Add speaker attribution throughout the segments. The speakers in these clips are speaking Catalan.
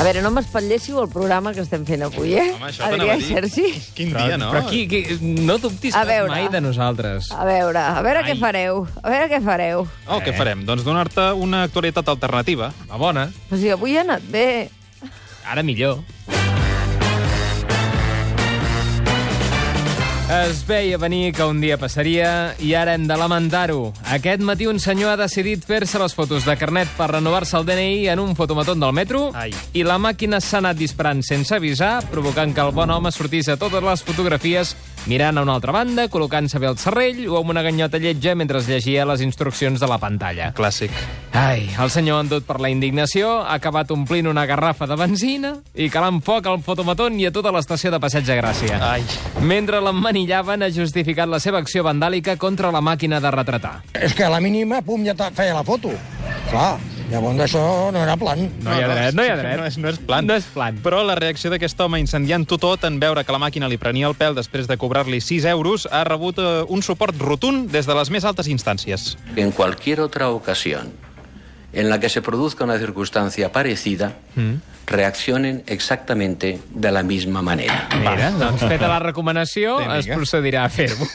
Speaker 1: A veure, no m'espatléssiu el programa que estem fent avui, eh?
Speaker 2: Home, això
Speaker 1: Adrià
Speaker 2: t'anava a
Speaker 1: i
Speaker 2: dir.
Speaker 1: Sergi.
Speaker 2: Quin dia, no?
Speaker 3: Però aquí, aquí no dubtis
Speaker 1: A veure. Ah.
Speaker 3: mai de nosaltres.
Speaker 1: A veure, a veure què
Speaker 3: Ai.
Speaker 1: fareu. A veure què fareu.
Speaker 2: Oh, què
Speaker 3: Eh.
Speaker 2: farem? Doncs donar-te una actualitat alternativa.
Speaker 3: La bona,
Speaker 1: O sigui, avui ha anat bé.
Speaker 3: ara millor. Es veia venir que un dia passaria i ara hem de lamentar-ho. Aquest matí un senyor ha decidit fer-se les fotos de carnet per renovar-se el DNI en un fotomatón del metro
Speaker 2: Ai.
Speaker 3: i la màquina s'ha anat disparant sense avisar, provocant que el bon home sortís a totes les fotografies mirant a una altra banda, col·locant-se bé el serrell o amb una ganyota lletja mentre es llegia les instruccions de la pantalla.
Speaker 2: Clàssic.
Speaker 3: Ai, el senyor endut per la indignació ha acabat omplint una garrafa de benzina i calant foc al fotomatón i a tota l'estació de Passeig de Gràcia.
Speaker 2: Ai.
Speaker 3: Mentre l'emmanillaven, ha justificat la seva acció vandàlica contra la màquina de retratar.
Speaker 4: És que a la mínima, pum, ja te- feia la foto. Clar, llavors això no era plan.
Speaker 3: No hi ha dret, no hi ha dret.
Speaker 2: No és, no és plan.
Speaker 3: No és plan.
Speaker 2: Però la reacció d'aquest home incendiant-ho tot en veure que la màquina li prenia el pèl després de cobrar-li 6 euros ha rebut eh, un suport rotund des de les més altes instàncies.
Speaker 5: en cualquier otra ocasión en la que se produzca una circunstancia parecida, reaccionen exactamente de la misma manera.
Speaker 3: Mira, doncs feta la recomanació,
Speaker 2: Té mica.
Speaker 3: es procedirà a fer-ho.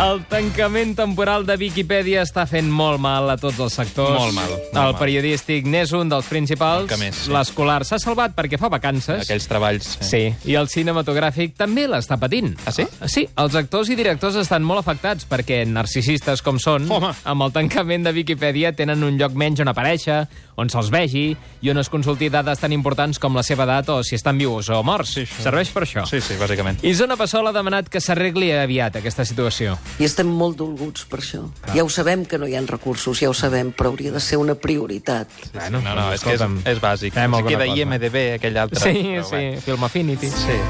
Speaker 3: El tancament temporal de Viquipèdia està fent molt mal a tots els sectors.
Speaker 2: Molt mal, molt
Speaker 3: el
Speaker 2: mal.
Speaker 3: periodístic n'és un dels
Speaker 2: El
Speaker 3: principals.
Speaker 2: que més, sí.
Speaker 3: L'escolar s'ha salvat perquè fa vacances.
Speaker 2: Aquells treballs.
Speaker 3: Sí, i el cinematogràfic també l'està patint.
Speaker 2: Ah, sí?
Speaker 3: Sí, els actors i directors estan molt afectats perquè narcisistes com són,
Speaker 2: Home.
Speaker 3: amb el tancament de Viquipèdia tenen un lloc menys on aparèixer, on se'ls vegi i on es consulti dades tan importants com la seva edat o si estan vius o morts.
Speaker 2: Sí, això.
Speaker 3: Serveix per això.
Speaker 2: Sí, sí, bàsicament.
Speaker 3: Isona Passola ha demanat que s'arregli aviat aquesta situació.
Speaker 6: I estem molt dolguts per això. Ja ho sabem que no hi ha recursos, ja ho sabem, però hauria de ser una prioritat.
Speaker 3: Bueno, doncs
Speaker 2: No, no, és que és,
Speaker 3: escolta'm,
Speaker 2: és bàsic.
Speaker 3: fem
Speaker 2: Si
Speaker 3: alguna
Speaker 2: queda
Speaker 3: cosa.
Speaker 2: IMDB, aquell altre.
Speaker 3: Sí,
Speaker 2: però
Speaker 3: sí,
Speaker 2: bueno.
Speaker 3: Film Affinity.
Speaker 2: Sí.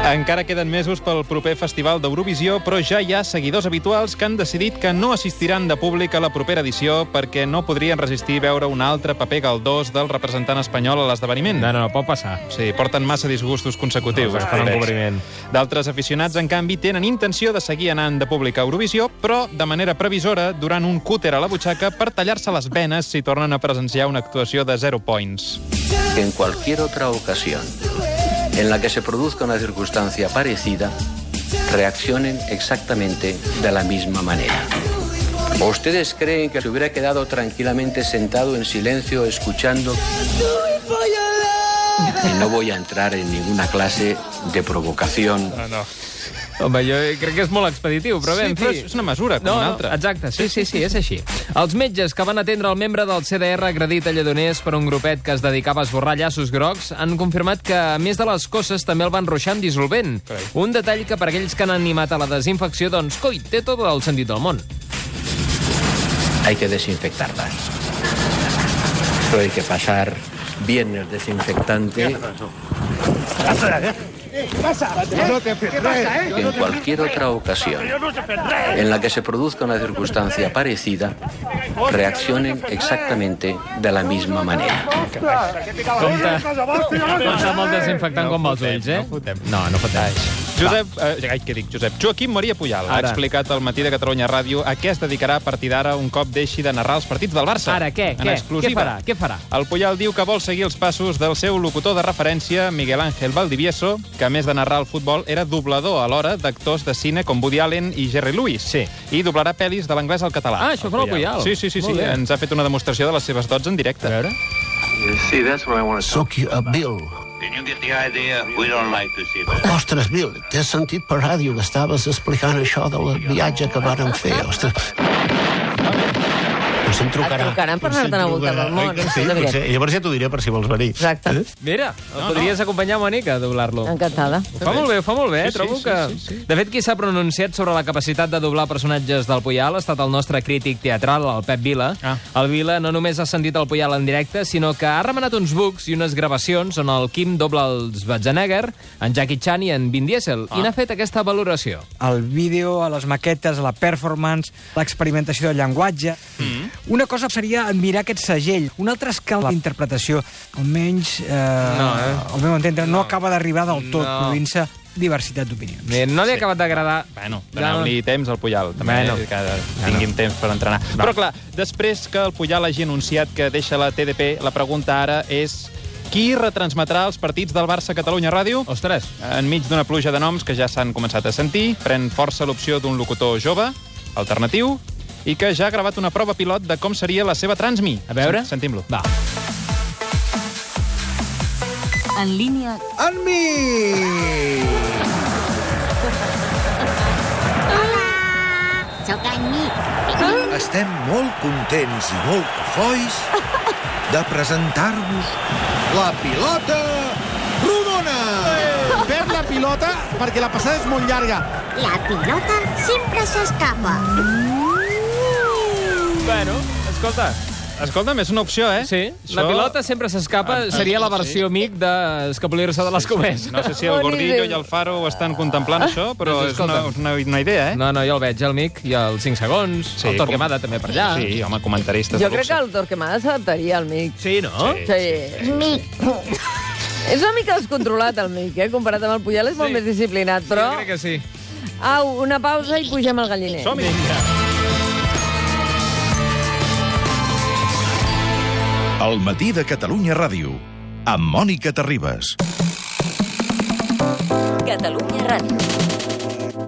Speaker 2: Encara queden mesos pel proper Festival d'Eurovisió, però ja hi ha seguidors habituals que han decidit que no assistiran de públic a la propera edició perquè no podrien resistir veure un altre paper galdós del representant espanyol a l'esdeveniment.
Speaker 3: No, no, pot passar.
Speaker 2: Sí, porten massa disgustos consecutius.
Speaker 3: No, es fan
Speaker 2: Pobrets.
Speaker 3: encobriment.
Speaker 2: D'altres aficionats, en canvi, tenen intenció de seguir anant de públic a Eurovisió, però de manera previsora, durant un cúter a la butxaca per tallar-se les venes si tornen a presenciar una actuació de zero points.
Speaker 5: En cualquier otra ocasión en la que se produzca una circunstancia parecida, reaccionen exactamente de la misma manera. ¿O ¿Ustedes creen que se hubiera quedado tranquilamente sentado en silencio escuchando? Y no voy a entrar en ninguna clase de provocación.
Speaker 3: Home, jo crec que és molt expeditiu, però bé,
Speaker 2: sí,
Speaker 3: en fi...
Speaker 2: però és una mesura, com
Speaker 3: No,
Speaker 2: una
Speaker 3: no,
Speaker 2: altra.
Speaker 3: exacte, sí, sí, sí, és així. Els metges que van atendre el membre del CDR agredit a Lledoners per un grupet que es dedicava a esborrar llaços grocs han confirmat que, a més de les coses, també el van ruixar amb dissolvent.
Speaker 2: Carai.
Speaker 3: Un detall que per aquells que han animat a la desinfecció, doncs, coi, té tot el sentit del món.
Speaker 5: hay que desinfectarlas. Pero hay que pasar viernes desinfectante. En cualquier otra ocasión en la que se produzca una circunstancia parecida, reaccionen exactamente de la misma manera.
Speaker 3: Compte, compte amb el desinfectant
Speaker 2: No
Speaker 3: com els
Speaker 2: fotem,
Speaker 3: ulls, eh?
Speaker 2: no fotem.
Speaker 3: No, no fotem.
Speaker 2: Josep, eh, ai, què dic, Josep? Joaquim Maria Puyal ha
Speaker 3: Ara.
Speaker 2: explicat al matí de Catalunya Ràdio a què es dedicarà a partir d'ara un cop deixi de narrar els partits del Barça.
Speaker 3: Ara, què?
Speaker 2: En
Speaker 3: Què?
Speaker 2: exclusiva.
Speaker 3: Què farà? Què farà?
Speaker 2: El Puyal diu que vol seguir els passos del seu locutor de referència, Miguel Ángel Valdivieso, que a més de narrar el futbol era doblador alhora d'actors de cine com Woody Allen i Jerry Lewis.
Speaker 3: Sí.
Speaker 2: I doblarà pel·lis de l'anglès al català.
Speaker 3: Ah, això farà el Puyal.
Speaker 2: Sí, sí, sí.
Speaker 3: Molt
Speaker 2: sí.
Speaker 3: bé.
Speaker 2: Ens ha fet una demostració de les seves dots en directe.
Speaker 3: A veure...
Speaker 7: See, that's what I want to
Speaker 8: Sóc a Bill.
Speaker 7: Can you get the idea? We don't like to see that.
Speaker 8: Ostres, Bill, t'he sentit per ràdio que estaves explicant això del viatge que vàrem fer. Ostres. Potser em trucarà.
Speaker 1: Et trucaran per
Speaker 8: Potser em
Speaker 1: anar-te'n a voltar
Speaker 8: trucarà.
Speaker 1: pel món.
Speaker 8: Oi que Sí,
Speaker 1: És evident.
Speaker 8: potser. Llavors ja t'ho diré per si vols venir. Eh?
Speaker 1: Exacte.
Speaker 3: Mira, el podries acompanyar a Mònica a doblar-lo.
Speaker 1: Encantada.
Speaker 3: Ho Fa molt bé, ho fa molt bé,
Speaker 2: Sí,
Speaker 3: sí,
Speaker 2: sí,
Speaker 3: trobo
Speaker 2: sí,
Speaker 3: que...
Speaker 2: sí, sí.
Speaker 3: De fet, qui s'ha pronunciat sobre la capacitat de doblar personatges del Puyal ha estat el nostre crític teatral, el Pep Vila.
Speaker 2: Ah.
Speaker 3: El Vila no només ha sentit el Puyal en directe, sinó que ha remenat uns books i unes gravacions on el Kim dobla el Schwarzenegger, en Jackie Chan i en Vin Diesel,
Speaker 2: Ah.
Speaker 3: i n'ha fet aquesta valoració.
Speaker 9: al vídeo, a les maquetes, a la performance, l'experimentació del llenguatge. Mm. Una cosa seria admirar aquest segell, una altra és que la interpretació, almenys, eh, no, eh? al meu entendre, no, no acaba d'arribar del tot,
Speaker 3: No.
Speaker 9: no. produint-se diversitat d'opinions.
Speaker 3: Eh, No li ha acabat d'agradar...
Speaker 2: Bueno, doneu-li temps al Puyal, també,
Speaker 3: Bueno.
Speaker 2: bueno. que tinguin temps per entrenar. Però clar, després que el Puyal hagi anunciat que deixa la TDP, la pregunta ara és Qui retransmetrà els partits del Barça a Catalunya Ràdio?
Speaker 3: Ostres,
Speaker 2: Enmig d'una pluja de noms que ja s'han començat a sentir, pren força l'opció d'un locutor jove, alternatiu, i que ja ha gravat una prova pilot de com seria la seva transmi.
Speaker 3: a veure...
Speaker 2: Sen- Sentim-lo.
Speaker 3: Va.
Speaker 6: En línia
Speaker 9: En mi!
Speaker 6: Sóc en Mic.
Speaker 9: Estem molt contents i molt cofois de presentar-vos la pilota rodona!
Speaker 8: Perd la pilota perquè la passada és molt llarga.
Speaker 6: La pilota sempre s'escapa.
Speaker 3: Bueno, escolta...
Speaker 2: Escolta'm, és una opció, eh?
Speaker 3: Sí, la pilota sempre s'escapa,
Speaker 2: Ah,
Speaker 3: seria la versió amic d'escapolir-se de les comes.
Speaker 2: No sé si el
Speaker 1: Bona idea.
Speaker 2: Gordillo i el Faro ho estan
Speaker 1: Ah.
Speaker 2: contemplant, això, però
Speaker 3: Doncs
Speaker 2: és una,
Speaker 3: escolta'm.
Speaker 2: és una, una idea, eh?
Speaker 3: No, no, jo el veig, el Mic, i el 5 segons, sí, el Torquemada com... també per allà.
Speaker 2: Sí, home, comentaristes
Speaker 1: Jo
Speaker 2: de
Speaker 1: crec
Speaker 2: luxe.
Speaker 1: que el Torquemada s'adaptaria al Mic.
Speaker 3: sí no?
Speaker 1: Sí. sí.
Speaker 6: Mic.
Speaker 1: És una mica descontrolat, el Mic, eh? Comparat amb el Puyol, és molt
Speaker 3: Sí.
Speaker 1: més disciplinat, però...
Speaker 3: Jo crec que sí.
Speaker 1: Au, una pausa i pugem al galliner.
Speaker 2: Som-hi!
Speaker 8: El matí de Catalunya Ràdio, amb Mònica Terribas.
Speaker 6: Catalunya Ràdio.